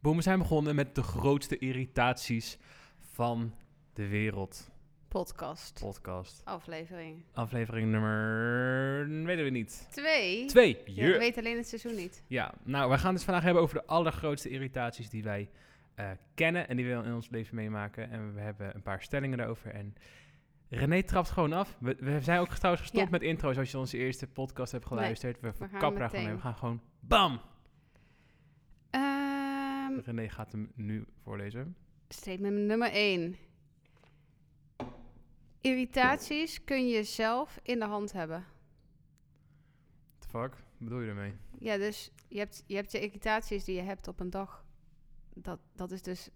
Boom, we zijn begonnen met de grootste irritaties van de wereld. Podcast. Podcast. Aflevering Aflevering nummer... weten we niet. 2. Twee. Je Yeah. weet alleen het seizoen niet. Ja, nou, we gaan het vandaag hebben over de allergrootste irritaties die wij eh, kennen en die we in ons leven meemaken. En we hebben een paar stellingen daarover. En René trapt gewoon af. We, we zijn ook trouwens gestopt Ja. met intro's als je onze eerste podcast hebt geluisterd. we gaan verkappen daar gewoon mee. meteen. Mm. We gaan gewoon bam! Ehm René gaat hem nu voorlezen. statement nummer 1. Irritaties kun je zelf in de hand hebben. The fuck? Wat bedoel je ermee? Ja, dus je hebt, je hebt je irritaties die je hebt op een dag. Dat, dat is dus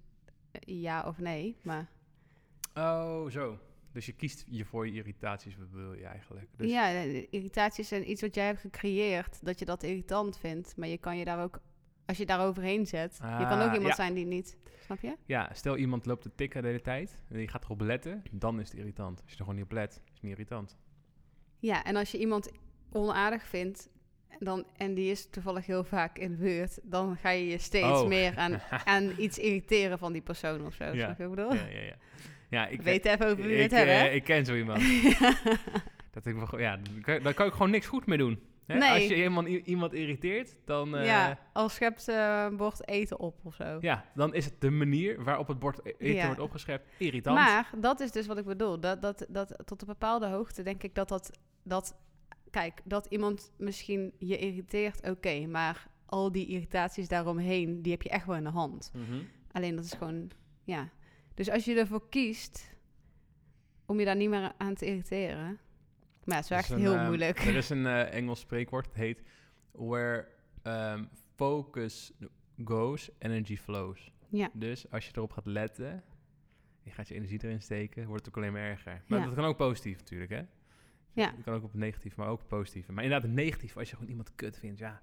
eh, ja of nee. Maar Oh, zo. Dus je kiest je voor je irritaties, wat bedoel je eigenlijk? Dus, ja, eh, irritaties zijn iets wat jij hebt gecreëerd. Dat je dat irritant vindt. Maar je kan je daar ook, als je daar overheen zet. je kan Ah, ook iemand ja. zijn die niet. Snap je? ja, stel iemand loopt te tikken de hele tijd en die gaat erop letten, dan is het irritant. Als je er gewoon niet op let, is het niet irritant. Ja, en als je iemand onaardig vindt dan, en die is toevallig heel vaak in de buurt, dan ga je je steeds Oh. meer aan, aan iets irriteren van die persoon of zo. Ja. Snap je wat ik bedoel? Ja, ja, ja. ja ik, Weet even over wie Oh. we ik, het hebben. eh, hè? ik ken zo iemand. Dat ik, me gewoon- ja, daar kan- daar kan ik gewoon niks goed mee doen. Hè? Nee. Als je iemand, i- iemand irriteert, dan, eh, ja, al schept eh, een bord eten op of zo. ja, dan is het de manier waarop het bord e- eten Ja. wordt opgeschept irritant. Maar dat is dus wat ik bedoel. Dat, dat, dat, tot een bepaalde hoogte denk ik dat dat... dat kijk, dat iemand misschien je irriteert, oké. maar al die irritaties daaromheen, die heb je echt wel in de hand. Mhm. Alleen dat is gewoon, ja. Dus als je ervoor kiest om je daar niet meer aan te irriteren. Maar ja, het is wel Dat is echt een, heel ehm, moeilijk. Er is een eh, Engels spreekwoord, het heet... Where ehm, focus goes, energy flows. Ja. Dus als je erop gaat letten, je gaat je energie erin steken, wordt het ook alleen maar erger. Maar Ja. dat kan ook positief natuurlijk, hè? Ja. Dat kan ook op het negatief, maar ook op positief. Maar inderdaad, het negatief, als je gewoon iemand kut vindt, ja...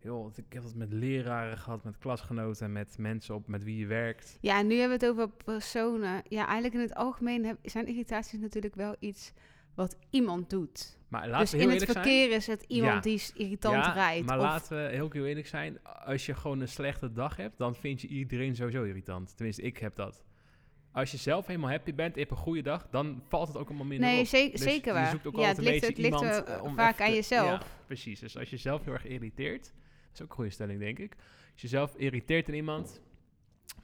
Joh, ik heb dat met leraren gehad, met klasgenoten, met mensen op, met wie je werkt. Ja, en nu hebben we het over personen. Ja, eigenlijk in het algemeen heb- zijn irritaties natuurlijk wel iets wat iemand doet. Maar laten we dus heel in het eerlijk zijn... verkeer is het iemand Ja. die s- irritant ja, rijdt. Maar of- laten we heel heel eerlijk zijn. Als je gewoon een slechte dag hebt, dan vind je iedereen sowieso irritant. Tenminste, ik heb dat. Als je zelf helemaal happy bent, je hebt een goede dag, dan valt het ook allemaal minder nee, op. ze- Dus zeker je waar. zoekt ook ja, altijd het een ligt, het beetje ligt iemand, eh, eh, om vaak even aan te- jezelf. Precies, dus als je zelf heel erg irriteert, dat is ook een goede stelling, denk ik. Als je zelf irriteert aan iemand,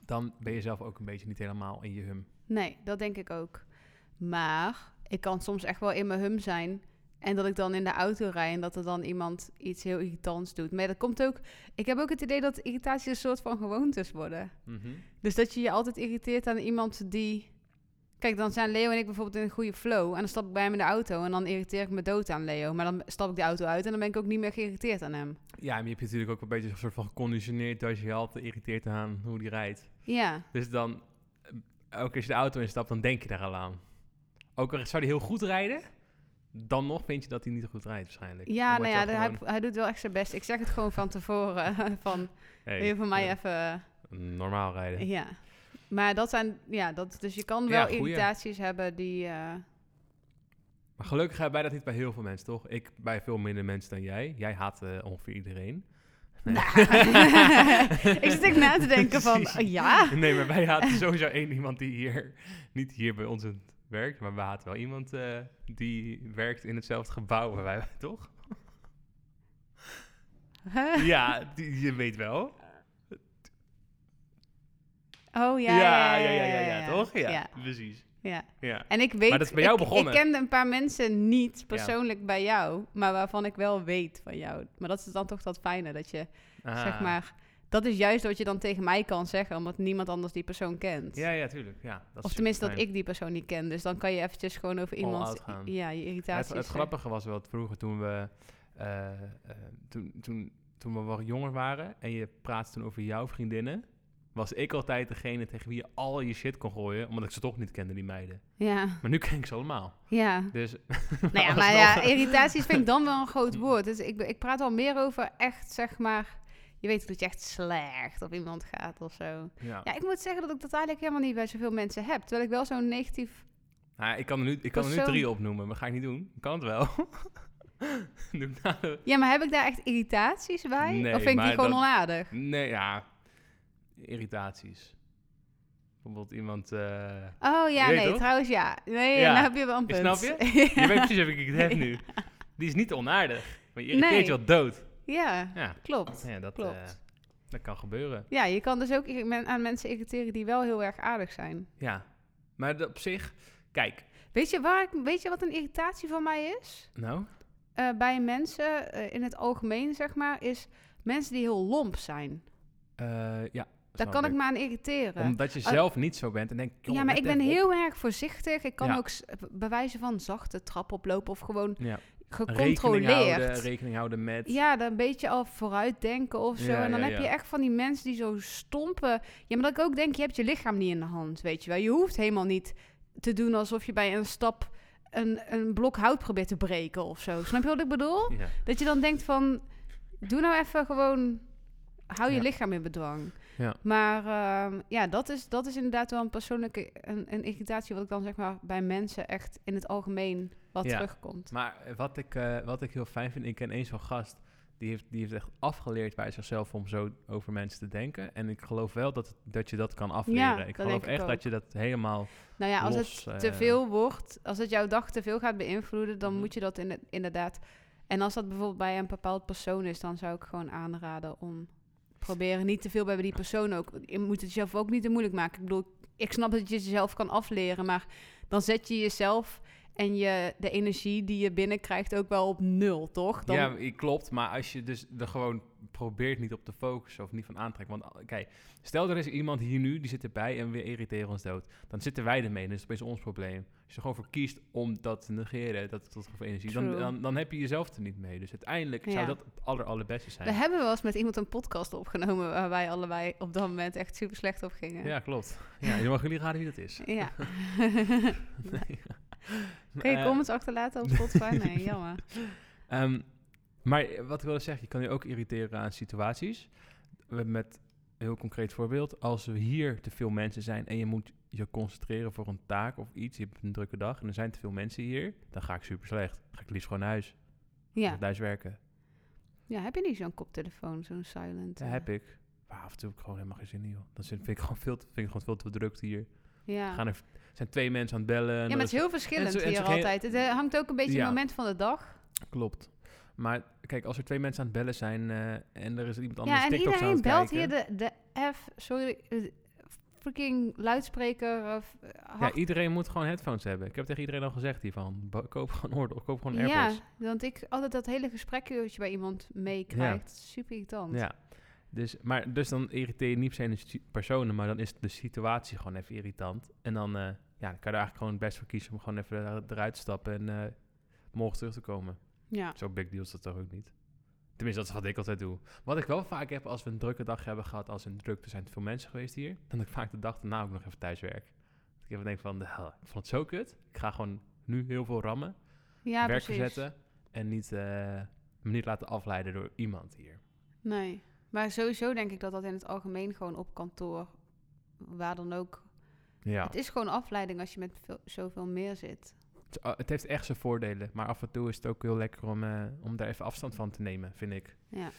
dan ben je zelf ook een beetje niet helemaal in je hum. Nee, dat denk ik ook. Maar ik kan soms echt wel in mijn hum zijn. En dat ik dan in de auto rijd en dat er dan iemand iets heel irritants doet. Maar dat komt ook... Ik heb ook het idee dat irritaties een soort van gewoontes worden. Mhm. Dus dat je je altijd irriteert aan iemand die... Kijk, dan zijn Leo en ik bijvoorbeeld in een goede flow. En dan stap ik bij hem in de auto en dan irriteer ik me dood aan Leo. Maar dan stap ik de auto uit en dan ben ik ook niet meer geïrriteerd aan hem. Ja, maar je hebt je natuurlijk ook een beetje een soort van geconditioneerd als je je altijd irriteert aan hoe die rijdt. Ja, Dus dan, eh, ook als je de auto instapt, dan denk je daar al aan. Ook al zou hij heel goed rijden, dan nog vind je dat hij niet goed rijdt waarschijnlijk. ja Dan nou wordt ja, wel hij, gewoon, hij doet wel echt zijn best. Ik zeg het gewoon van tevoren. Van, hey, wil je voor mij eh, even... Normaal rijden. Ja. Maar dat zijn, ja, dat, dus je kan Ja, wel goeie. irritaties hebben die, eh, Maar gelukkig hebben wij dat niet bij heel veel mensen, toch? Ik bij veel minder mensen dan jij. Jij haat eh, ongeveer iedereen. Nee. Nou. ik zit ook na te denken van, Precies. oh, ja. Nee, maar wij haten sowieso één iemand die hier, niet hier bij ons in- werkt, maar we haten wel iemand eh, die werkt in hetzelfde gebouw waar wij, toch? Huh? Ja, die, je weet wel. Oh ja, ja, ja, ja, ja, ja. toch? Ja, Ja, precies. ja. Ja. En ik weet, dat is bij jou ik, begonnen. ik kende een paar mensen niet persoonlijk bij jou, maar waarvan ik wel weet van jou. Maar dat is dan toch dat fijne, dat je, zeg Ah. maar, dat is juist wat je dan tegen mij kan zeggen, omdat niemand anders die persoon kent. Ja, ja, tuurlijk. Ja, dat of is tenminste dat superfijn. ik die persoon niet ken, dus dan kan je eventjes gewoon over All iemand, out gaan. ja, je irritaties. Het, het zeggen. grappige was wel vroeger toen we, eh, eh, toen, toen, toen we wat jonger waren en je praatte toen over jouw vriendinnen, was ik altijd degene tegen wie je al je shit kon gooien, omdat ik ze toch niet kende, die meiden. Ja, Maar nu ken ik ze allemaal. ja. Dus, Nou ja, maar ja, irritaties vind ik dan wel een groot woord. Dus ik, ik praat al meer over echt, zeg maar... Je weet dat je echt slecht op iemand gaat of zo. ja. Ja, ik moet zeggen dat ik dat eigenlijk helemaal niet bij zoveel mensen heb. Terwijl ik wel zo'n negatief... Nou, ik kan er nu, ik kan er nu Persoon- drie opnoemen, maar ga ik niet doen. Kan het wel. Doe ik na de- Ja, maar heb ik daar echt irritaties bij? Nee, of vind ik maar die gewoon dat- onaardig? Nee, ja. irritaties. Bijvoorbeeld iemand... eh, Oh ja, Je weet nee, toch? trouwens ja. Nee, Ja. nou heb je wel een Ik punt. snap Je weet precies wie ik het heb nu. Die is niet onaardig. Maar je irriteert Nee. je al dood. ja, Ja, klopt. ja dat, Klopt. eh, dat kan gebeuren. Ja, je kan dus ook irri- men- aan mensen irriteren die wel heel erg aardig zijn. Ja. Maar dat op zich... Kijk. Weet je, waar ik, weet je wat een irritatie van mij is? Nou? Eh, bij mensen eh, in het algemeen, zeg maar, is mensen die heel lomp zijn. eh, ja. Daar snap kan ik me aan irriteren. Omdat je Al- zelf niet zo bent en denkt... joh, ja, maar let ik ben even op. heel erg voorzichtig. Ik kan Ja. ook s- b- bij wijze van zachte trap oplopen of gewoon Ja. Rekening houden, gecontroleerd. rekening houden met... Ja, dan een beetje al vooruit denken of zo. Ja, en dan ja, heb ja. je echt van die mensen die zo stompen. Ja, maar dat ik ook denk, je hebt je lichaam niet in de hand, weet je wel. Je hoeft helemaal niet te doen alsof je bij een stap een, een blok hout probeert te breken of zo. Snap je wat ik bedoel? Ja. Dat je dan denkt van, doe nou even gewoon, hou je Ja. lichaam in bedwang. Ja. Maar ehm, ja, dat is, dat is inderdaad wel een persoonlijke een, een irritatie wat ik dan zeg maar bij mensen echt in het algemeen wat Ja. terugkomt. Maar wat ik, eh, wat ik heel fijn vind, ik ken één zo'n gast. Die heeft, die heeft echt afgeleerd bij zichzelf om zo over mensen te denken. En ik geloof wel dat, dat je dat kan afleren. Ja, ik dat geloof denk ik echt dat ook. je dat helemaal Nou ja, als los... het eh, te veel wordt, als het jouw dag te veel gaat beïnvloeden, dan Mhm. moet je dat in, inderdaad. En als dat bijvoorbeeld bij een bepaald persoon is, dan zou ik gewoon aanraden om proberen niet te veel bij die persoon ook. Je moet het jezelf ook niet te moeilijk maken. Ik bedoel, ik snap dat je het jezelf kan afleren, maar dan zet je jezelf en je, de energie die je binnenkrijgt ook wel op nul, toch? Dan, Ja, i- klopt. Maar als je dus er gewoon probeert niet op te focussen of niet van aantrekken. Want ah, kijk, stel er is iemand hier nu, die zit erbij en we irriteren ons dood. Dan zitten wij ermee, dus dat is opeens ons probleem. Als je er gewoon voor kiest om dat te negeren, dat dat gevoel energie, dan, True. dan, dan heb je jezelf er niet mee. Dus uiteindelijk Ja. zou dat het aller, allerbeste zijn. we hebben wel eens met iemand een podcast opgenomen waar wij allebei op dat moment echt super slecht op gingen. Ja, klopt. Ja, je mag jullie raden wie dat is. Ja. Nee. Kun je Eh, comments achterlaten op Spotify? Nee, jammer. ehm, maar wat ik wilde zeggen, je kan je ook irriteren aan situaties. We- Met een heel concreet voorbeeld. Als we hier te veel mensen zijn en je moet je concentreren voor een taak of iets. Je hebt een drukke dag en er zijn te veel mensen hier. Dan ga ik super slecht. Ga ik liefst gewoon naar huis. Ja. Ga ik thuis werken. Ja, heb je niet zo'n koptelefoon, zo'n silent? Dat eh? heb ik. Maar af en toe heb ik gewoon helemaal geen zin in, joh. Dan zit- vind ik gewoon veel te, vind ik gewoon veel te bedrukt hier. Ja. Gaan er zijn twee mensen aan het bellen. en er ja, maar is- het is heel verschillend en zo- en hier zo geen- altijd. Het eh, hangt ook een beetje Ja. het moment van de dag. Klopt. Maar kijk, als er twee mensen aan het bellen zijn eh, en er is iemand anders ja, en TikToks aan iedereen het belt kijken. hier de, de F, sorry, eh, freaking luidspreker. eh, f- Ja, hard- iedereen moet gewoon headphones hebben. Ik heb tegen iedereen al gezegd hiervan. Bo- Koop gewoon oordeel, koop gewoon ja, AirPods. want ik altijd dat hele gesprekje wat je bij iemand meekrijgt. Super irritant. Ja. Dus, maar, dus dan irriteer je niet per se de situ- personen, maar dan is de situatie gewoon even irritant. En dan, eh, ja, dan kan je er eigenlijk gewoon het best voor kiezen om gewoon even er- eruit te stappen en eh, morgen terug te komen. Ja. Zo big deal is dat toch ook niet? Tenminste, dat is wat ik altijd doe. Wat ik wel vaak heb als we een drukke dag hebben gehad, als een druk, er zijn te veel mensen geweest hier, dan heb ik vaak de dag daarna ook nog even thuiswerk. Dat Ik even denk van, "Huh, ik vond het zo kut. Ik ga gewoon nu heel veel rammen, Ja, werk precies. verzetten en niet, eh, me niet laten afleiden door iemand hier. Nee. Maar sowieso denk ik dat dat in het algemeen gewoon op kantoor, waar dan ook. Ja. Het is gewoon afleiding als je met veel- zoveel meer zit. Het, is- ah, het heeft echt zijn voordelen, maar af en toe is het ook heel lekker om, eh, om daar even afstand van te nemen, vind ik. Ja.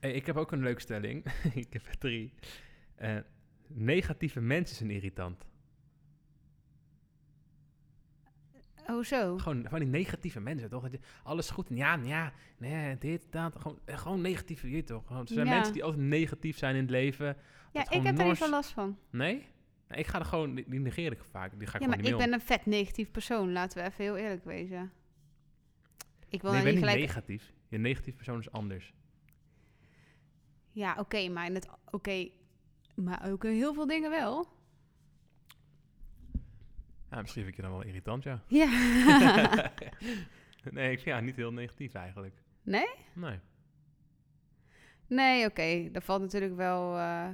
Hey, ik heb ook een leuke stelling. ik heb er drie. Eh, negatieve mensen zijn irritant. Hoezo? Gewoon van die negatieve mensen, toch? Dat je alles goed en ja, ja, nee, dit, dat. Gewoon, eh, gewoon negatieve, je weet toch? Gewoon, er zijn Ja. mensen die altijd negatief zijn in het leven. Ja, gewoon ik heb er niet nors. van last van. Nee? Nee, Ik ga er gewoon, die die negeer ik vaak. Die ga ik Ja, gewoon maar niet ik meer ben een vet negatief persoon, laten we even heel eerlijk wezen. Ik wil om. Nee, je bent nou niet niet gelijk. negatief. Je negatief persoon is anders. Ja, oké, maar in het. Oké, maar ook in heel veel dingen wel. Ja, misschien vind ik je dan wel irritant, ja. Ja. nee, ik vind ja, niet heel negatief eigenlijk. Nee? Nee. nee, oké, dat valt natuurlijk wel. eh,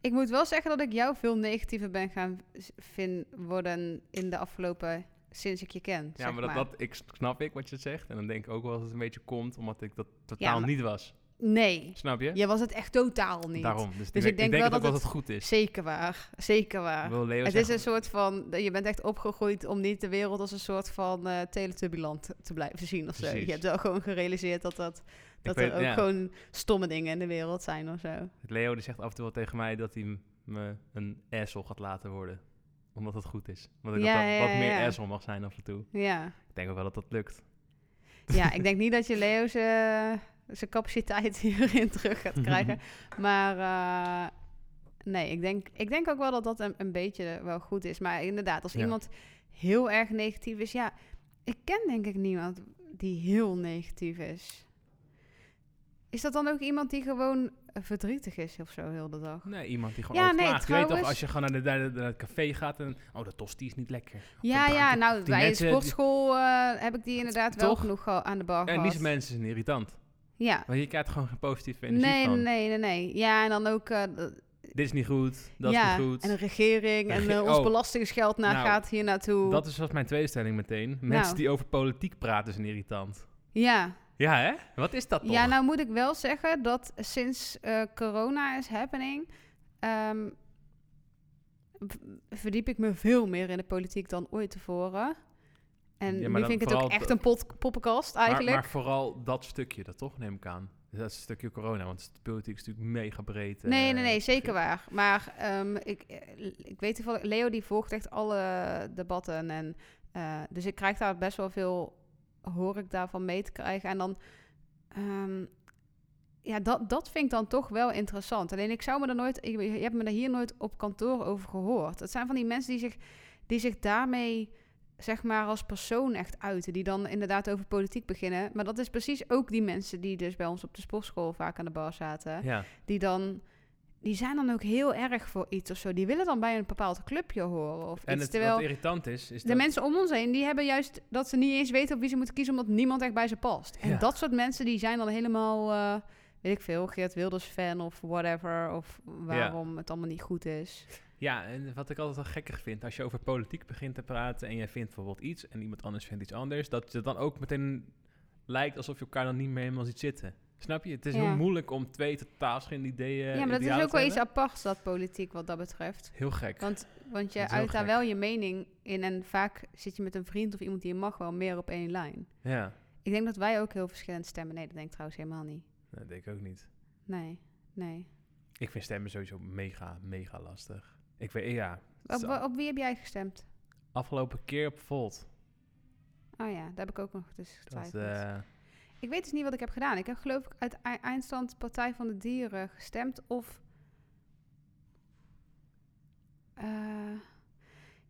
Ik moet wel zeggen dat ik jou veel negatiever ben gaan s- vin worden in de afgelopen. sinds ik je ken. Ja, zeg maar dat, dat ik, snap ik wat je zegt. En dan denk ik ook wel dat het een beetje komt, omdat ik dat totaal maar- niet was. Nee. Snap je? Je was het echt totaal niet. Daarom. Dus, Dus ik, denk, wel dat, het het- goed is. Zeker waar. Zeker waar. Wil Leo Het is dus zeggen- een soort van, je bent echt opgegroeid om niet de wereld als een soort van eh teletubbyland te- te blijven zien of zo. Precies. Je hebt wel gewoon gerealiseerd dat, dat, Ik dat weet- er ook ja. gewoon stomme dingen in de wereld zijn of zo. Leo die zegt af en toe wel tegen mij dat hij m- me een asshole gaat laten worden. Omdat het goed is. Want ik Ja, dat dan ja, wat ja, meer ja. asshole mag zijn af en toe. Ja, Ik denk ook wel dat dat lukt. ja ik denk niet dat je Leo zijn zijn capaciteit hierin terug gaat krijgen. Mhm. Maar eh, nee, ik denk, ik denk ook wel dat dat een, een beetje wel goed is. Maar inderdaad, als Ja. iemand heel erg negatief is, ja, ik ken denk ik niemand die heel negatief is. Is dat dan ook iemand die gewoon eh, verdrietig is of zo heel de dag? Nee, iemand die gewoon Ja, ja, nee, klaagt. Je weet toch, trouwens- als je gewoon naar, de, naar, de- naar het café gaat en... Oh, dat tosti is niet lekker. Of Ja, dat- ja, die- nou, die bij mensen- de sportschool eh, heb ik die inderdaad wel Toch? genoeg geha- aan de bar En gehad. die mensen zijn irritant. Ja. Want je krijgt gewoon geen positieve energie Nee, van. nee, nee, nee. Ja, en dan ook... eh, dat- Dit is niet goed, dat ja, is niet goed. en de regering en Rege- eh, ons oh. belastingsgeld naar Nou, gaat hier naartoe. Dat is was mijn tweede stelling meteen. Mensen Nou. die over politiek praten zijn irritant. Ja. Ja, hè? Wat is dat toch? ja, nou moet ik wel zeggen dat sinds eh, corona is happening... ehm, v- verdiep ik me veel meer in de politiek dan ooit tevoren. En Ja, maar nu dan vind ik het ook vooral echt de- een pot- poppenkast Maar- eigenlijk. Maar, vooral dat stukje, dat toch, neem ik aan. Dat is een stukje corona, want de politiek is natuurlijk mega breed. eh, Nee, nee, nee, zeker shit. waar. Maar ehm, ik, eh, ik weet wel, Leo die volgt echt alle debatten. En, eh, dus ik krijg daar best wel veel, hoor ik daarvan mee te krijgen. En dan, ehm, ja, dat, dat vind ik dan toch wel interessant. Alleen ik zou me er nooit, je, je hebt me daar hier nooit op kantoor over gehoord. Het zijn van die mensen die zich, die zich daarmee, zeg maar, als persoon echt uiten. Die dan inderdaad over politiek beginnen. Maar dat is precies ook die mensen die dus bij ons op de sportschool vaak aan de bar zaten Ja, die dan die zijn dan ook heel erg voor iets of zo. Die willen dan bij een bepaald clubje horen of en iets. het, terwijl wat irritant is, is de dat... mensen om ons heen die hebben juist dat ze niet eens weten op wie ze moeten kiezen omdat niemand echt bij ze past. En Ja. dat soort mensen die zijn dan helemaal eh, weet ik veel Geert Wilders fan of whatever of waarom het allemaal niet goed is. Ja, en wat ik altijd wel gekkig vind, als je over politiek begint te praten en jij vindt bijvoorbeeld iets en iemand anders vindt iets anders, dat het dan ook meteen lijkt alsof je elkaar dan niet meer helemaal ziet zitten. Snap je? Het is Ja. heel moeilijk om twee totaal verschillende ideeën ja, maar dat is idealen ook te wel iets hebben. aparts dat politiek wat dat betreft. Heel gek. Want, want je Dat is heel uit daar gek. wel je mening in en vaak zit je met een vriend of iemand die je mag wel meer op één lijn. Ja, Ik denk dat wij ook heel verschillend stemmen. Nee, dat denk ik trouwens helemaal niet. dat denk ik ook niet. Nee, nee. Ik vind stemmen sowieso mega, mega lastig. Ik weet, ja, Op, Zo. op wie heb jij gestemd? afgelopen keer op Volt. Oh ja, daar heb ik ook nog dus Dat, getwijfeld. eh, Ik weet dus niet wat ik heb gedaan. Ik heb geloof ik uit ei- eindstand Partij van de Dieren gestemd of... Eh,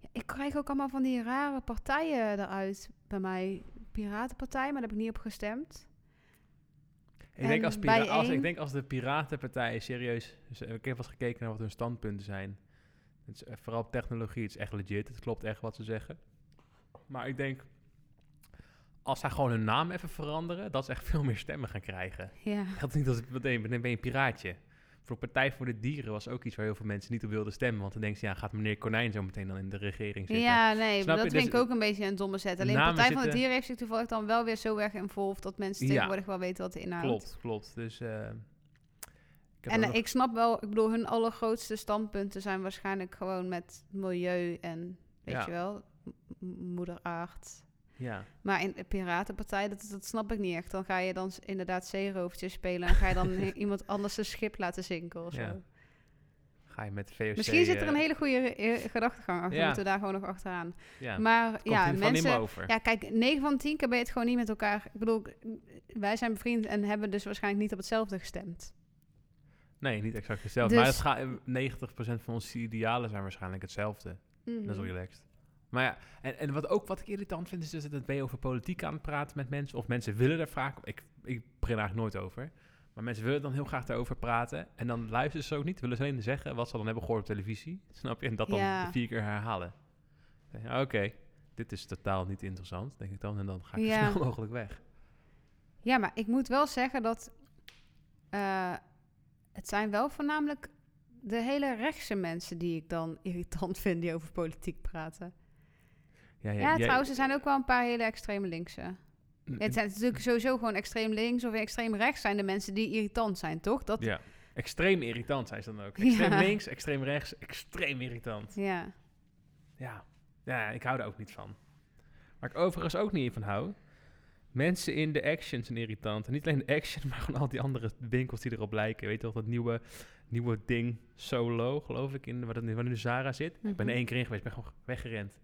ja, ik krijg ook allemaal van die rare partijen eruit bij mij. Piratenpartij, maar daar heb ik niet op gestemd. Ik denk, En als bij pira- als, één- ik denk als de Piratenpartij serieus. dus, eh, Ik heb wel eens gekeken naar wat hun standpunten zijn. Het is, eh, vooral op technologie, het is echt legit. Het klopt echt wat ze zeggen. Maar ik denk. Als zij gewoon hun naam even veranderen, dat ze echt veel meer stemmen gaan krijgen. Ja, Dat is niet als het meteen dan ben je een piraatje. Voor Partij voor de Dieren was ook iets waar heel veel mensen niet op wilden stemmen. Want dan denken ze, ja, gaat meneer Konijn zo meteen dan in de regering zitten? ja nee, Snap maar dat je? vind Dus ik ook een beetje een domme zet. Alleen namen Partij van de zitten- Dieren heeft zich toevallig dan wel weer zo erg involved... dat mensen Ja. tegenwoordig wel weten wat de inhoud klopt, klopt. Dus. eh, ik heb nou, er En eh, nog- ik snap wel, ik bedoel, hun allergrootste standpunten zijn waarschijnlijk gewoon met milieu en, weet Ja. je wel, m- m- moederaard. ja. Maar in de Piratenpartij, dat, dat snap ik niet echt. Dan ga je dan s- inderdaad zeerooftjes spelen en ga je dan i- iemand anders een schip laten zinken of zo. Ja. Ga je met de VOC. Misschien zit er eh, een hele goede eh, gedachtegang achter, Ja. moeten we daar gewoon nog achteraan. Ja. Maar Komt ja, hier van mensen... Limburg over. Ja, kijk, 9 van 10 keer ben je het gewoon niet met elkaar. Ik bedoel, ik- wij zijn bevriend en hebben dus waarschijnlijk niet op hetzelfde gestemd. Nee, niet exact hetzelfde. Dus- Maar het gaat- 90% van onze idealen zijn waarschijnlijk hetzelfde. Dat is Mhm. wel relaxed. Maar ja, en, en wat ook wat ik irritant vind, is dus dat ben je over politiek aan het praten met mensen. Of mensen willen er vaak, ik, ik begin er eigenlijk nooit over. Maar mensen willen dan heel graag daarover praten. En dan luisteren ze ook niet. Willen ze alleen zeggen wat ze dan hebben gehoord op televisie. Snap je? En dat dan Ja. vier keer herhalen. Dan denk je, Oké, dit is totaal niet interessant, denk ik dan. En dan ga ik Ja. zo snel mogelijk weg. Ja, maar ik moet wel zeggen dat eh, het zijn wel voornamelijk de hele rechtse mensen die ik dan irritant vind die over politiek praten. Ja, ja, Ja, jij- trouwens, er zijn ook wel een paar hele extreme linkse. Ja, het zijn natuurlijk sowieso gewoon extreem links of extreem rechts zijn de mensen die irritant zijn, toch? Dat, Ja. Extreem irritant zijn ze dan ook. Extreem Ja. links, extreem rechts, extreem irritant. ja. Ja. ja, ik hou daar ook niet van. Waar ik overigens ook niet van hou. Mensen in de action zijn irritant. En niet alleen de action, maar gewoon al die andere winkels die erop lijken. Weet je wel, dat nieuwe, nieuwe ding solo, geloof ik, in, waar, dat nu, waar nu Zara zit. Ik ben Mhm. er één keer in geweest, ben gewoon weggerend.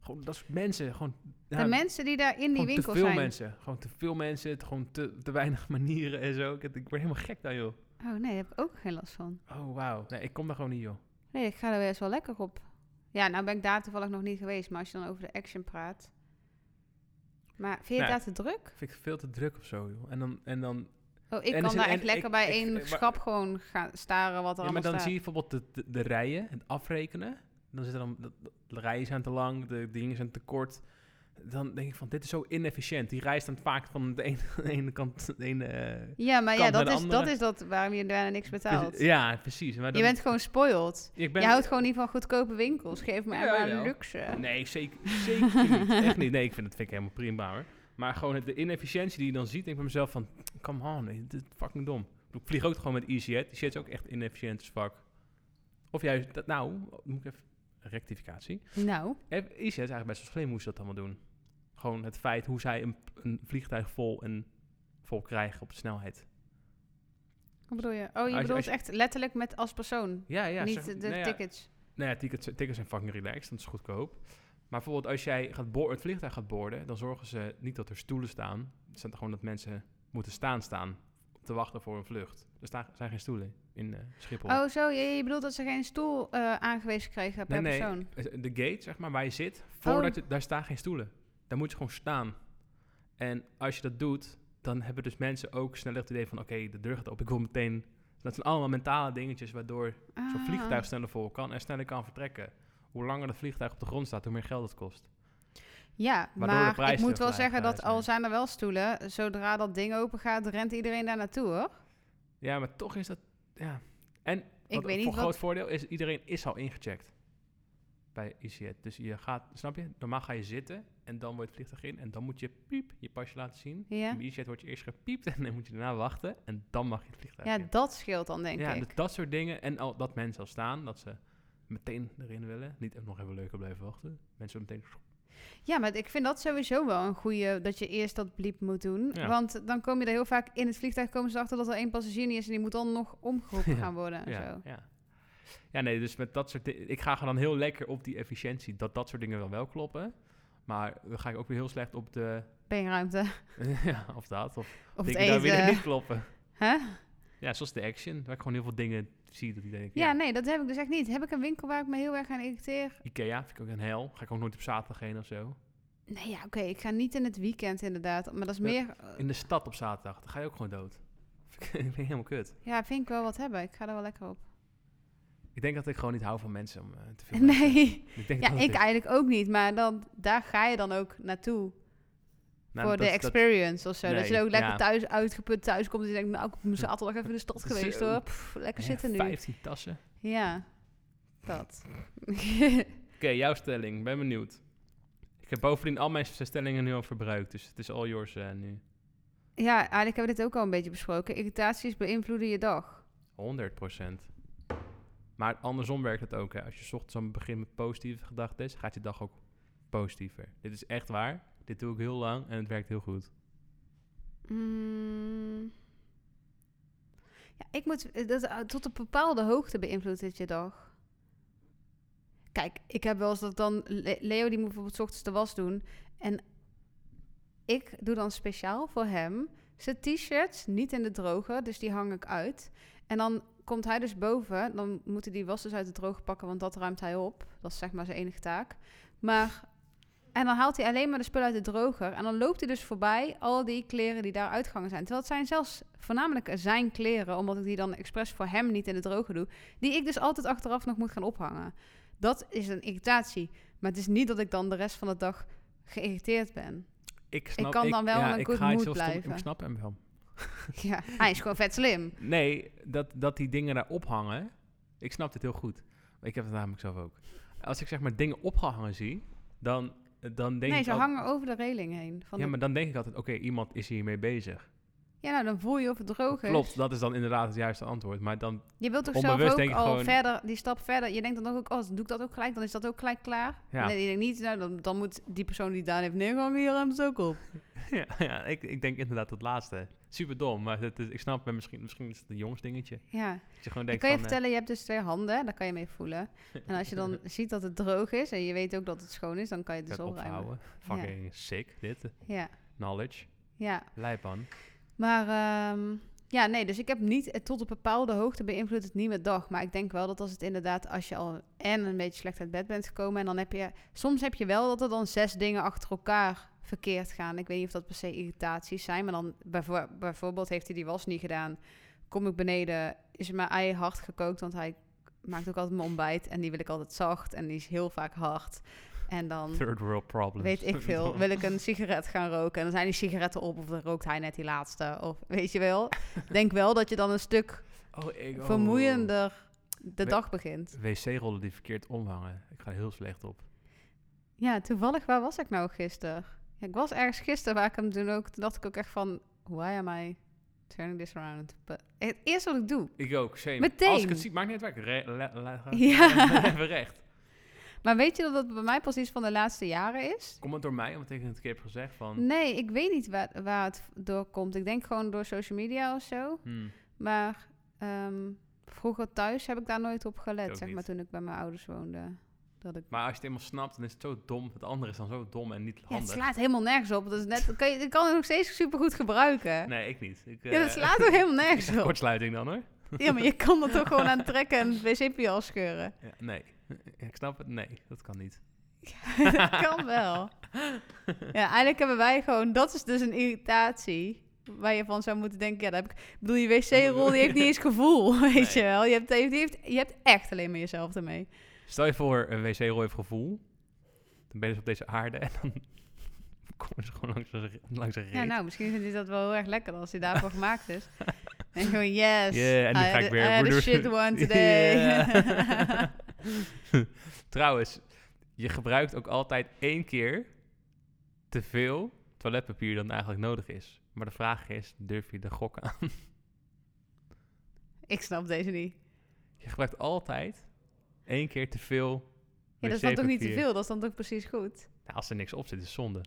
Gewoon, dat soort mensen. Gewoon, De ja, mensen die daar in die gewoon winkel te veel zijn. mensen. Gewoon te veel mensen, het- gewoon te, te weinig manieren en zo. Ik, ik word helemaal gek dan, joh. Oh nee, daar heb ik ook geen last van. Oh, wauw. Nee, ik kom daar gewoon niet, joh. Nee, ik ga er best wel lekker op. Ja, nou ben ik daar toevallig nog niet geweest, maar als je dan over de action praat. Maar vind je het Nou, daar te druk? Vind ik veel te druk of zo, joh. En dan, en dan Oh, ik en kan is- daar en echt lekker ik- bij ik- één maar- schap gewoon gaan staren wat er Ja, maar dan allemaal staat. zie je bijvoorbeeld de, de, de rijen, het afrekenen. Dan zit er dan, de, de rijen zijn te lang, de dingen zijn te kort. Dan denk ik van, dit is zo inefficiënt. Die rij staat vaak van de ene, de ene kant... De ene, eh, ja, maar ja, kant bij dat de is, andere. dat is dat waarom je daarna niks betaalt. precies- ja, precies. Maar je dan, bent gewoon spoiled. ik ben, Je houdt gewoon niet van goedkope winkels. Geef me Ja, maar jawel. luxe. Nee, zeker, zeker niet. Echt niet. Nee, ik vind, dat vind ik helemaal prima hoor. Maar gewoon het- de inefficiëntie die je dan ziet, denk ik bij mezelf van... Come on, dit is fucking dom. Ik vlieg ook gewoon met E EasyJet. Die shit is ook echt inefficiënt as fuck. Of juist, dat, nou, moet ik even... Rectificatie. Nou, Heb- IC is eigenlijk best wel slim hoe ze dat allemaal doen. Gewoon het feit hoe zij een, een vliegtuig vol en vol krijgen op de snelheid. wat bedoel je? Oh, je je- bedoelt als je- echt letterlijk met als persoon. Ja, ja. niet zeg- de nou ja, tickets. Nou ja, tickets, tickets zijn fucking relaxed, dat is goedkoop. Maar bijvoorbeeld als jij gaat boor- het vliegtuig gaat boorden, dan zorgen ze niet dat er stoelen staan. Het zijn gewoon dat mensen moeten staan staan te wachten voor een vlucht. Er staan, zijn geen stoelen in eh, Schiphol. Oh, zo. Je, je bedoelt dat ze geen stoel eh, aangewezen krijgen per Nee, nee. persoon. Oh. De gate, zeg maar, waar je zit, voordat je, daar staan geen stoelen. Daar moet je gewoon staan. En als je dat doet, dan hebben dus mensen ook sneller het idee van... oké, de deur gaat open, ik wil meteen... Dat zijn allemaal mentale dingetjes waardoor zo'n Ah. vliegtuig sneller vol kan en sneller kan vertrekken. Hoe langer dat vliegtuig op de grond staat, hoe meer geld het kost. Ja, Waardoor de maar ik prijzen moet wel vrij- zeggen dat vrij zijn. al zijn er wel stoelen, zodra dat ding open gaat, rent iedereen daar naartoe hoor. Ja, maar toch is dat... Ja. En Ik wat weet een niet groot wat- voordeel is, iedereen is al ingecheckt bij EasyJet. Dus je gaat, snap je? Normaal ga je zitten en dan wordt het vliegtuig in en dan moet je piep je pasje laten zien. Ja, In EasyJet wordt je eerst gepiept en dan moet je daarna wachten en dan mag je het vliegtuig ja in. dat scheelt dan denk ja, ik. dus dat soort dingen en al, dat mensen al staan, dat ze meteen erin willen. Niet even nog even leuker blijven wachten. Mensen willen meteen... Ja, maar ik vind dat sowieso wel een goede dat je eerst dat bliep moet doen. Ja. Want dan kom je er heel vaak in het vliegtuig komen ze achter dat er één passagier niet is en die moet dan nog omgeroepen Ja, gaan worden en Ja, zo. ja. ja, nee, dus met dat soort di- Ik ga gewoon heel lekker op die efficiëntie, dat dat soort dingen wel wel kloppen. Maar dan ga ik ook weer heel slecht op de... Beenruimte ja, of dat, of of het dingen daar weer eten. niet kloppen. Hè? Ja, zoals de action, waar ik gewoon heel veel dingen zie dat ik denk... Ja, nee, dat heb ik dus echt niet. Heb ik een winkel waar ik me heel erg aan irriteer? Ikea vind ik ook een hel. Ga ik ook nooit op zaterdag heen of zo. Nee, ja, oké, ik ga niet in het weekend inderdaad, maar dat is Ja, meer... eh, In de stad op zaterdag, dan ga je ook gewoon dood. Vind ik vind ik helemaal kut. Ja, vind ik wel wat hebben. Ik ga er wel lekker op. Ik denk dat ik gewoon niet hou van mensen om eh, te veel mensen. Nee. Ik denk Ja, dat het ik is. eigenlijk ook niet, maar dan, daar ga je dan ook naartoe. Nou, voor dat- de dat- experience of zo. dat je Nee, dan ook lekker ja. thuis uitgeput thuis komt en je denkt, nou, ik ben zaterdag even in de stad Zo. geweest hoor. Pff, lekker ja, zitten nu. 15 tassen. Ja, dat. Oké, jouw stelling. Ben benieuwd. Ik heb bovendien al mijn s- stellingen nu al verbruikt, dus het is all yours eh, nu. ja, eigenlijk hebben we dit ook al een beetje besproken. Irritaties beïnvloeden je dag. 100%. Maar andersom werkt het ook. Hè. Als je 's ochtends aan het begin met positieve gedachten is, gaat je dag ook positiever. Dit is echt waar. Dit doe ik heel lang en het werkt heel goed. Mm. Ja, ik moet... eh, Dat, tot een bepaalde hoogte beïnvloedt het je dag. Kijk, ik heb wel eens dat dan... Le- Leo die moet bijvoorbeeld 's ochtends de was doen. En ik doe dan speciaal voor hem zijn t-shirts niet in de droger. Dus die hang ik uit. En dan komt hij dus boven. Dan moeten die was dus uit de droger pakken, want dat ruimt hij op. Dat is zeg maar zijn enige taak. Maar... En dan haalt hij alleen maar de spullen uit de droger. En dan loopt hij dus voorbij al die kleren die daar uitgangen zijn. Terwijl het zijn zelfs voornamelijk zijn kleren, omdat ik die dan expres voor hem niet in de droger doe. Die ik dus altijd achteraf nog moet gaan ophangen. Dat is een irritatie. Maar het is niet dat ik dan de rest van de dag geïrriteerd ben. Ik, snap, kan dan wel ja, in een ik good ga iets mood heel stom- blijven. Ik snap hem wel. Ja, hij is gewoon vet slim. Nee, dat, dat die dingen daar ophangen. Ik snap dit heel goed. Ik heb het namelijk zelf ook. Als ik zeg maar dingen opgehangen zie, dan dan denk nee, ik ze al- hangen over de reling heen. Van Ja, de- maar dan denk ik altijd, oké, iemand is hiermee bezig. ja, nou, dan voel je of het droog is. Klopt, dat is dan inderdaad het juiste antwoord. Maar dan, Je wilt toch Onbewust zelf denk ook ik al gewoon- verder, die stap verder. Je denkt dan ook, oh, doe ik dat ook gelijk? Dan is dat ook gelijk klaar. Ja. Nee, je denkt niet, nou, dan, dan moet die persoon die het gedaan heeft neerhangen, hier hem ze ook op. ja, ja ik, ik denk inderdaad dat laatste. Super dom, maar dat is, ik snap, maar misschien, misschien is het een jongs dingetje. Ja. Dat je gewoon Ik denkt kan je van, eh, vertellen, je hebt dus twee handen, daar kan je mee voelen. En als je dan ziet dat het droog is en je weet ook dat het schoon is, dan kan je het kan dus ik opruimen. ophouden. Fucking sick, dit. Ja, Knowledge. ja. Lijp man. Maar ehm, ja, nee, dus ik heb niet eh, tot op bepaalde hoogte beïnvloedt het niet mijn dag. Maar ik denk wel dat als het inderdaad, als je al en een beetje slecht uit bed bent gekomen. En dan heb je, soms heb je wel dat er dan zes dingen achter elkaar verkeerd gaan. Ik weet niet of dat per se irritaties zijn. Maar dan bijvoor- bijvoorbeeld heeft hij die was niet gedaan. Kom ik beneden, is mijn ei hard gekookt. Want hij maakt ook altijd mijn ontbijt. En die wil ik altijd zacht. En die is heel vaak hard. En dan Third world problems. weet ik veel, wil ik een sigaret gaan roken. En dan zijn die sigaretten op of dan rookt hij net die laatste. Of weet je wel. Denk wel dat je dan een stuk Oh, ik, oh. vermoeiender We- de dag begint. Wc-rollen die verkeerd omhangen. Ik ga er heel slecht op. Ja, toevallig, waar was ik nou gisteren? Ja, ik was ergens gisteren waar ik hem toen ook... Toen dacht ik ook echt van, why am I turning this around? But, het eerste wat ik doe. Ik ook, same. Meteen. Als ik het zie, maakt niet uit waar ik... Re- le- le- Ja. Even recht. Maar weet je dat dat bij mij pas iets van de laatste jaren is? Komt het door mij, omdat ik het een keer heb gezegd van... Nee, ik weet niet waar, waar het door komt. Ik denk gewoon door social media of zo. hmm, Maar ehm, vroeger thuis heb ik daar nooit op ook gelet, zeg maar, niet. toen ik bij mijn ouders woonde. Dat ik... Maar als je het eenmaal snapt, dan is het zo dom. Het andere is dan zo dom en niet Ja, het handig. slaat helemaal nergens op. Dat is net, dat kan je, ik kan het nog steeds supergoed gebruiken. Nee, ik niet. Ik, Ja, eh, dat slaat ook helemaal nergens op. Kortsluiting dan hoor. Ja, maar je kan er toch gewoon aan trekken en het wc-papier afscheuren. Ja, nee. Ik snap het. Nee, dat kan niet. dat kan wel. Ja, eigenlijk hebben wij gewoon... Dat is dus een irritatie waar je van zou moeten denken... Ja, dat heb ik... Ik bedoel, je wc-rol die heeft niet eens gevoel, weet Nee. je wel. Je hebt, die heeft, je hebt echt alleen maar jezelf ermee. Stel je voor, een wc-rol heeft gevoel. Dan ben je dus op deze aarde en dan komen ze gewoon langs een, langs een reet. Ja, nou, misschien vindt hij dat wel heel erg lekker als hij daarvoor gemaakt is. En gewoon, yes, Yeah, en nu I ga had ik a- weer- I had a Broeder- shit one today. Ja. Trouwens, je gebruikt ook altijd één keer te veel toiletpapier dan eigenlijk nodig is. Maar de vraag is, durf je de gok aan? ik snap deze niet. Je gebruikt altijd één keer te veel Ja, dat is dan toch niet te wc-papier. veel? Dat is dan toch precies goed? Nou, als er niks op zit, is zonde.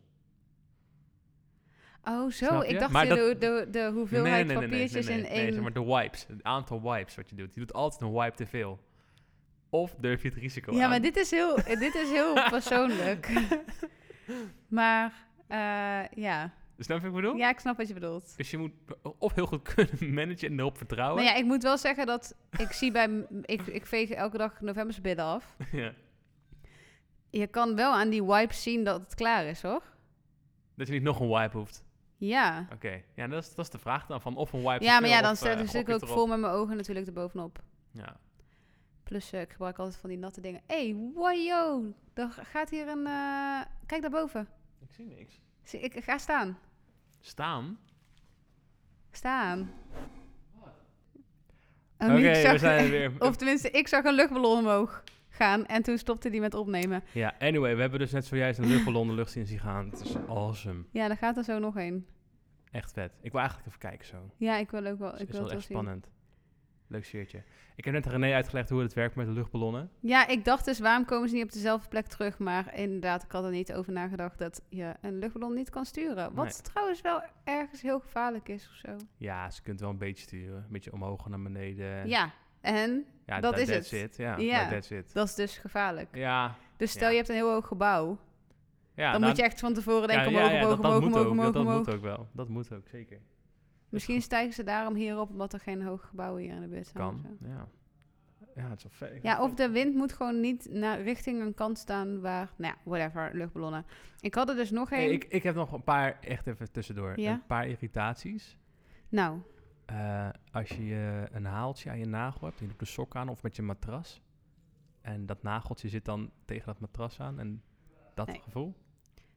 Oh, zo. Snap je? Ik dacht Maar de, dat- de, de hoeveelheid papiertjes nee, nee, in één... zeg maar de wipes. Het aantal wipes wat je doet. Je doet altijd een wipe te veel. Of durf je het risico ja, aan. maar dit is heel, eh, dit is heel persoonlijk. maar eh, ja. Snap je wat ik bedoel? ja, ik snap wat je bedoelt. Dus je moet of heel goed kunnen managen en erop vertrouwen. Maar ja, ik moet wel zeggen dat ik zie bij... m- Ik, ik veeg elke dag novembers bidden af. Ja. Je kan wel aan die wipes zien dat het klaar is, hoor. Dat je niet nog een wipe hoeft. Ja. Oké. Ja, dat is, dat is de vraag dan. Van of een wipe te Ja, maar veel ja, dan of, zet eh, zit ik gok ook je erop. vol met mijn ogen natuurlijk erbovenop. Ja. Plus, eh, ik gebruik altijd van die natte dingen. Hé, hey, wajo, er gaat hier een... eh, Kijk daarboven. Ik zie niks. Zie- Ik ga staan. Staan? Oh, Staan. Oh, Oké, nu ik zag- we zijn er weer. Of tenminste, ik zag een luchtballon omhoog gaan en toen stopte die met opnemen. Ja, anyway. We hebben dus net zojuist een luchtballon de lucht zien zien gaan. Het is awesome. Ja, daar gaat er zo nog een. Echt vet. Ik wil eigenlijk even kijken zo. Ja, ik wil ook wel. Oh, Ik is wil wel het echt wel zien. spannend. Leuk shirtje. Ik heb net aan René uitgelegd hoe het werkt met de luchtballonnen. Ja, ik dacht dus, waarom komen ze niet op dezelfde plek terug? Maar inderdaad, ik had er niet over nagedacht dat je een luchtballon niet kan sturen. Wat Nee. trouwens wel ergens heel gevaarlijk is of zo. Ja, ze kunt wel een beetje sturen. Een beetje omhoog en naar beneden. Ja, en Ja, dat tha- is that's het. It. Ja, Ja. nou, that's it. dat is dus gevaarlijk. Ja, Dus stel Ja. je hebt een heel hoog gebouw, ja. dan nou, moet je echt van tevoren ja, denken, ja, omhoog, ja, omhoog, dat- dat omhoog, moet omhoog, ook, omhoog, dat, omhoog. Dat moet ook wel. Dat moet ook, zeker. Misschien stijgen ze daarom hierop, omdat er geen hoge gebouwen hier in de buurt zijn. of Kan, zo. ja. Ja, het is wel vet. Ik Ja, vind- of de wind moet gewoon niet naar richting een kant staan waar... Nou ja, whatever, luchtballonnen. Ik had er dus nog Hey, één. ik, ik heb nog een paar, echt even tussendoor, Ja? een paar irritaties. Nou, Eh, als je eh, een haaltje aan je nagel hebt, je doet een sok aan of met je matras. En dat nageltje zit dan tegen dat matras aan en dat Nee. Mm. gevoel.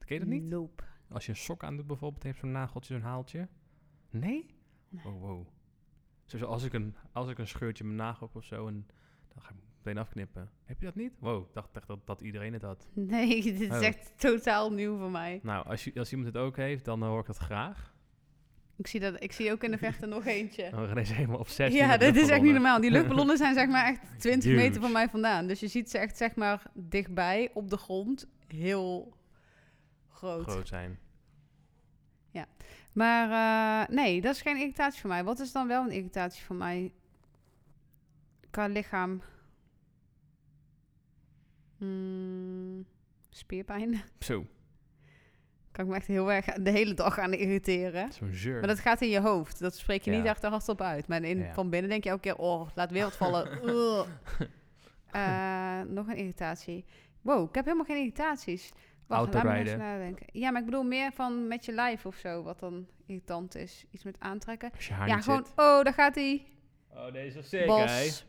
Ken je dat niet? nope. Als je een sok aan doet bijvoorbeeld, heeft zo'n nageltje, zo'n haaltje. Nee? Nee. Oh, wow. Zo, zo als, ik een, als ik een scheurtje in mijn nagel heb of zo, en dan ga ik meteen afknippen. Heb je dat niet? Wow, ik dacht echt dat, dat iedereen het had. Nee, dit is Oh. echt totaal nieuw voor mij. Nou, als, je, als iemand het ook heeft, dan eh, hoor ik dat graag. Ik zie, dat, ik zie ook in de vechten nog eentje. Dan gaan deze helemaal obsessie. Ja, met dat is echt niet luchtballonnen. normaal. Die luchtballonnen zijn zeg maar echt 20 Huge. meter van mij vandaan. Dus je ziet ze echt zeg maar dichtbij op de grond. Heel groot. Groot zijn. Maar eh, nee, dat is geen irritatie voor mij. Wat is dan wel een irritatie voor mij? Qua lichaam. Hmm, spierpijn. Zo, Kan ik me echt heel erg de hele dag aan irriteren. zo'n zeur. Maar dat gaat in je hoofd. Dat spreek je niet Ja. echt hardop uit. Maar in, Ja. van binnen denk je elke keer... Oh, laat weer wat vallen. Ugh. Eh, nog een irritatie. Wow, ik heb helemaal geen irritaties. Wacht, laat me Autorijden. eens nadenken. Ja, maar ik bedoel meer van met je lijf of zo. Wat dan irritant is. Iets met aantrekken. Als je haar ja, niet gewoon... zit. Oh, daar gaat hij. Oh, deze is zeker, Bas,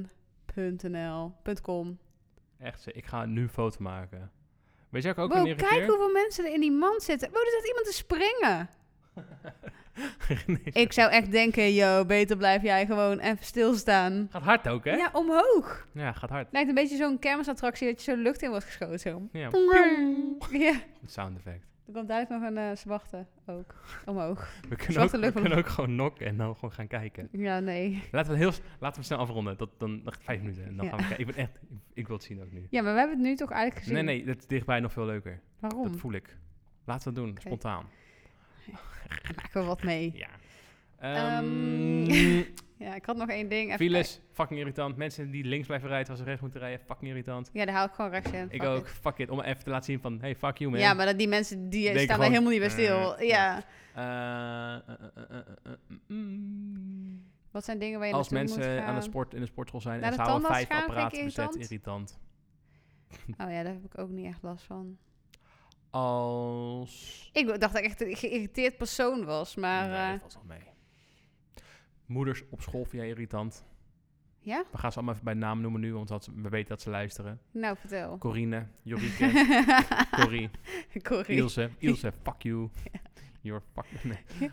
ballonvaarten.nl, .com. Echt, ze- ik ga nu een foto maken. Weet je wat ik ook Wow, een kijk irriteer? hoeveel mensen er in die mand zitten. Wow, er zat iemand te springen. Nee, Ik zou echt denken, yo, beter blijf jij gewoon even stilstaan. Gaat hard ook, hè? Ja, Ja, omhoog. gaat hard. Lijkt een beetje zo'n kermisattractie dat je zo lucht in wordt geschoten. Zo. Ja, Ja, goed sound effect. er komt duidelijk nog een eh, zwarte ook omhoog. We kunnen, ook, Zwarte we lucht- kunnen ook gewoon knokken en dan gewoon gaan kijken. Ja, nee. Laten we, heel, s- laten we snel afronden. Dat, dan nog vijf minuten. En dan Ja. gaan we kijken. Ik ben echt... Ik wil het zien ook nu. Ja, maar we hebben het nu toch eigenlijk gezien. Nee, nee. Dat is dichtbij nog veel leuker. Waarom? Dat voel ik. Laten we het doen. Spontaan. Daar maken we wat mee. Ja. Ehm, Ehm, Ja, ik had nog één ding. Even files. Fucking irritant. Mensen die links blijven rijden terwijl ze rechts moeten rijden. Fucking irritant. kijken. Ja, daar haal ik gewoon rechts in. Ik Fuck ook. it. Fuck it. Om even te laten zien van... Hey, fuck you, man. Ja, maar dat die mensen die eh, Denken staan daar gewoon, helemaal niet bij stil. eh, ja. Eh, eh, eh, eh, eh, mm, mm. Wat zijn dingen waar je Als naartoe moet mensen aan de gaan? sport in de sportschool zijn Naar en ze de houden tandarts vijf gaan, vind ik apparaten bezet, irritant. Oh ja, daar heb ik ook niet echt last van. Als Ik dacht dat ik echt een geïrriteerd persoon was, maar... nee, eh, valt wel mee. Moeders op school vind jij irritant. ja? We gaan ze allemaal even bij naam noemen nu, want dat ze- we weten dat ze luisteren. Nou, vertel. Corine, Jorike, Corrie, Corrie. Ilse. Ilse, fuck you. Your fuck... Nee.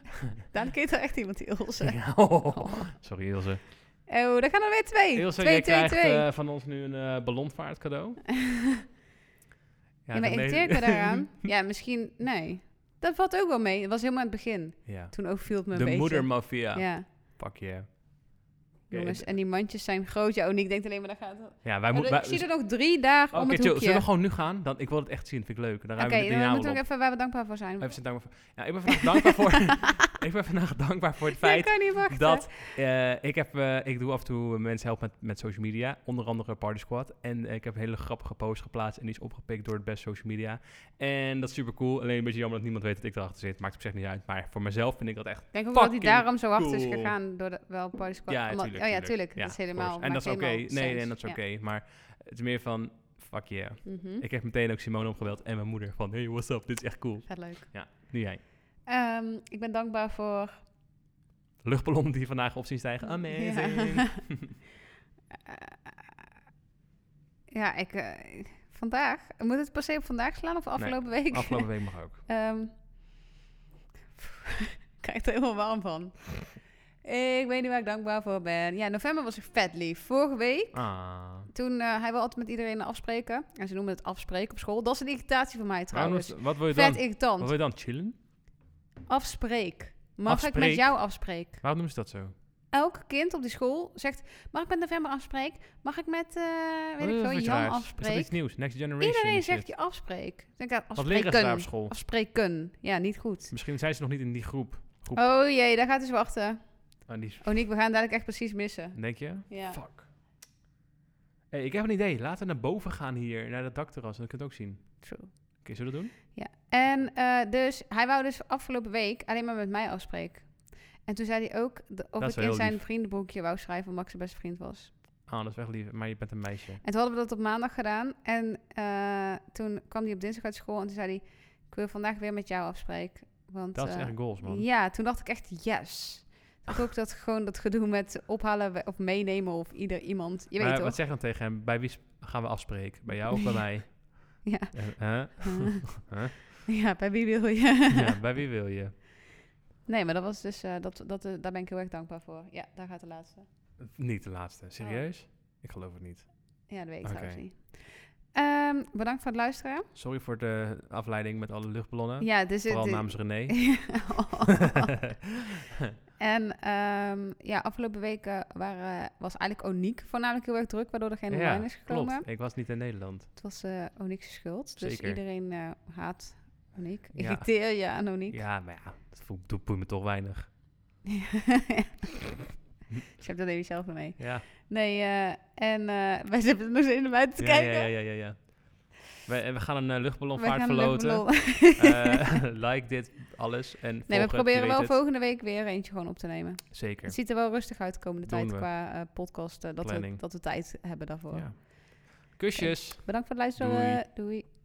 Daar kent er echt iemand die Ilse. Ja, oh. Sorry Ilse. Oh, daar gaan er weer twee. Ilse, twee, jij twee, krijgt twee. eh, van ons nu een eh, ballonvaart cadeau. ja, maar irriteer ik me daaraan? Ja, misschien... Nee. Dat valt ook wel mee. Het was helemaal aan het begin. Ja. Toen overviel het me een De beetje. moedermafia. Ja. Pak je. Jongens, en die mandjes zijn groot. Ja, oh, Nick denkt alleen maar, daar gaat het. Ja, wij Maar moeten. er- Ik zie er nog drie daar Oh, Oké, om het chill. Zullen we hoekje. gewoon nu gaan? Dan, ik wil het echt zien. Vind ik leuk. Dan Oké, ruimen we de dan dynamo moeten op. we ook even waar we dankbaar voor zijn. Even zijn dankbaar voor. Ja, ik ben vandaag dankbaar voor. ik ben vandaag dankbaar voor het Ik feit kan niet wachten. dat eh, ik heb. eh, ik doe af en toe mensen helpen met, met social media. Onder andere Party Squad. En eh, ik heb een hele grappige post geplaatst. En die is opgepikt door het best social media. En dat is super cool. Alleen een beetje jammer dat niemand weet dat ik erachter zit. Maakt op zich niet uit. Maar voor mezelf vind ik dat echt. Ik denk ook wel dat hij Fucking daarom zo achter is cool. gegaan door de, wel Party Squad. Ja, Omdat- tuurlijk. oh ja, tuurlijk. Ja, dat is of course. helemaal... En dat is maakt oké. helemaal Nee, nee, sens. dat is Ja. oké. Maar het is meer van. Fuck yeah. Mhm. Ik heb meteen ook Simone opgebeld en mijn moeder van hey, what's up, dit is echt cool. Gaat leuk. Nu jij. Ehm, ik ben dankbaar voor... Luchtballon die vandaag op zien stijgen, amazing. Ja, ja ik... eh, vandaag? Moet het per se op vandaag slaan of afgelopen week? Afgelopen week mag ook. Ehm, ik krijg er helemaal warm van. Ik weet niet waar ik dankbaar voor ben. Ja, november was ik vet lief. Vorige week, Ah. toen... eh, hij wil altijd met iedereen afspreken. En ze noemen het afspreken op school. Dat is een irritatie van mij trouwens. Waarom- wat wil je dan? Vet Wat irritant. wil je dan? Chillen? Afspreek. Mag ik Afspreek? met jou afspreken? Waarom noemen ze dat zo? Elk kind op die school zegt: Mag ik met november afspreken? Mag ik met, eh, weet Wat ik is veel, Oh, dat voor iets Jan raars? Is dat afspreken? iets nieuws? Next Generation Iedereen shit. zegt je afspreek. Ik Denk aan Wat leren ze daar op afspreken. school? Afspreken. Ja, niet goed. Misschien zijn ze nog niet in die groep. Groep. Oh jee, daar gaat dus wachten. Ah, die is- Oh Nick, we gaan dadelijk echt precies missen. Denk je? Ja. Fuck. Hey, ik heb een idee. Laten we naar boven gaan hier, naar dat dakterras. Dan kun je het ook zien. Oké, True. zullen we dat doen? En eh, dus, hij wou dus afgelopen week alleen maar met mij afspreken. En toen zei hij ook de- of Dat is ik wel in heel zijn lief. vriendenboekje wou schrijven of Max zijn beste vriend was. Ah, dat is echt lief. Maar je bent een meisje. En toen hadden we dat op maandag gedaan. En eh, toen kwam hij op dinsdag uit school en toen zei hij... Ik wil vandaag weer met jou afspreken. Want, Dat is eh, echt goals, man. Ja, toen dacht ik echt yes. Dat ik ook dat gewoon dat gedoe met ophalen we- of meenemen of ieder iemand. Je maar weet wat toch? zeg je dan tegen hem? Bij wie sp- gaan we afspreken? Bij jou of bij mij? Ja. Eh, hè? Huh? ja, bij wie wil je? ja, bij wie wil je? Nee, maar dat was dus... eh, dat, dat, eh, daar ben ik heel erg dankbaar voor. Ja, daar gaat de laatste. Niet de laatste. Serieus? Oh. Ik geloof het niet. Ja, dat weet ik Oké. trouwens niet. Ehm, bedankt voor het luisteren. Sorry voor de afleiding met alle luchtballonnen. Ja, dus Vooral dit- namens René. en ehm, ja, afgelopen weken waren, was eigenlijk Oniek voornamelijk heel erg druk, waardoor er geen online is gekomen. klopt. Ik was niet in Nederland. Het was eh Oniek's schuld, dus Zeker. iedereen eh, haat Oniek. Ja. Irriteer je aan Oniek. Ja, maar ja, dat voelt- doet boeit me toch weinig. Ik heb dat even zelf maar mee. Ja, Nee, eh, en eh, wij zitten nog steeds naar buiten te ja, ja, kijken. ja, ja. ja, ja. We, we gaan een eh, Wij luchtballonvaart gaan leuk verloten. lullen. Eh, like dit, alles. En Nee, we volgen, proberen je wel weet het. volgende week weer eentje gewoon op te nemen. Zeker. Het ziet er wel rustig uit de komende Doen tijd we. qua eh, podcast. eh, dat, we, Planning. dat we tijd hebben daarvoor. Ja. Kusjes. Bedankt voor het luisteren. Doei.